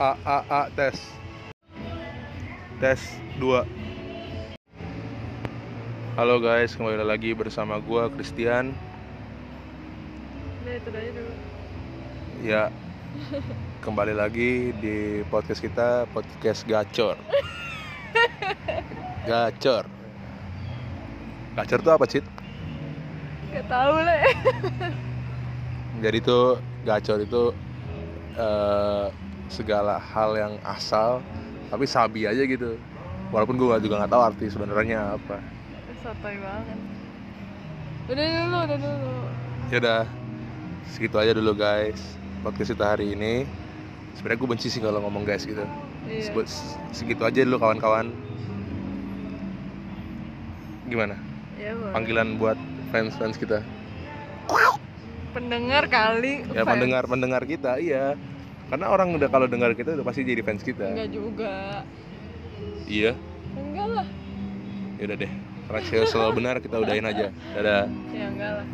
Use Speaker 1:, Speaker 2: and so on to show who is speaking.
Speaker 1: A A A tes. Tes 2. Halo guys, kembali lagi bersama gua Christian.
Speaker 2: Udah itu aja dulu.
Speaker 1: Ya. Kembali lagi di podcast kita, podcast gacor. Gacor. Gacor tuh apa, Cit?
Speaker 2: Gak tau lah.
Speaker 1: Jadi tuh gacor itu eh, segala hal yang asal tapi sabi aja gitu. Walaupun gua juga nggak tahu arti sebenarnya apa.
Speaker 2: Sotoy banget. Udah dulu, udah dulu.
Speaker 1: ya udah segitu aja dulu guys podcast kita hari ini sebenarnya gue benci sih kalau ngomong guys gitu
Speaker 2: Iya.
Speaker 1: Sebut segitu aja dulu kawan-kawan gimana
Speaker 2: Ya, boleh.
Speaker 1: panggilan buat fans fans kita
Speaker 2: Pendengar kali.
Speaker 1: ya pendengar pendengar kita iya karena orang udah kalau dengar kita udah pasti jadi fans kita
Speaker 2: Enggak juga.
Speaker 1: iya
Speaker 2: Enggak lah.
Speaker 1: ya udah deh Rasio selalu benar kita udahin aja dadah
Speaker 2: Ya enggak lah.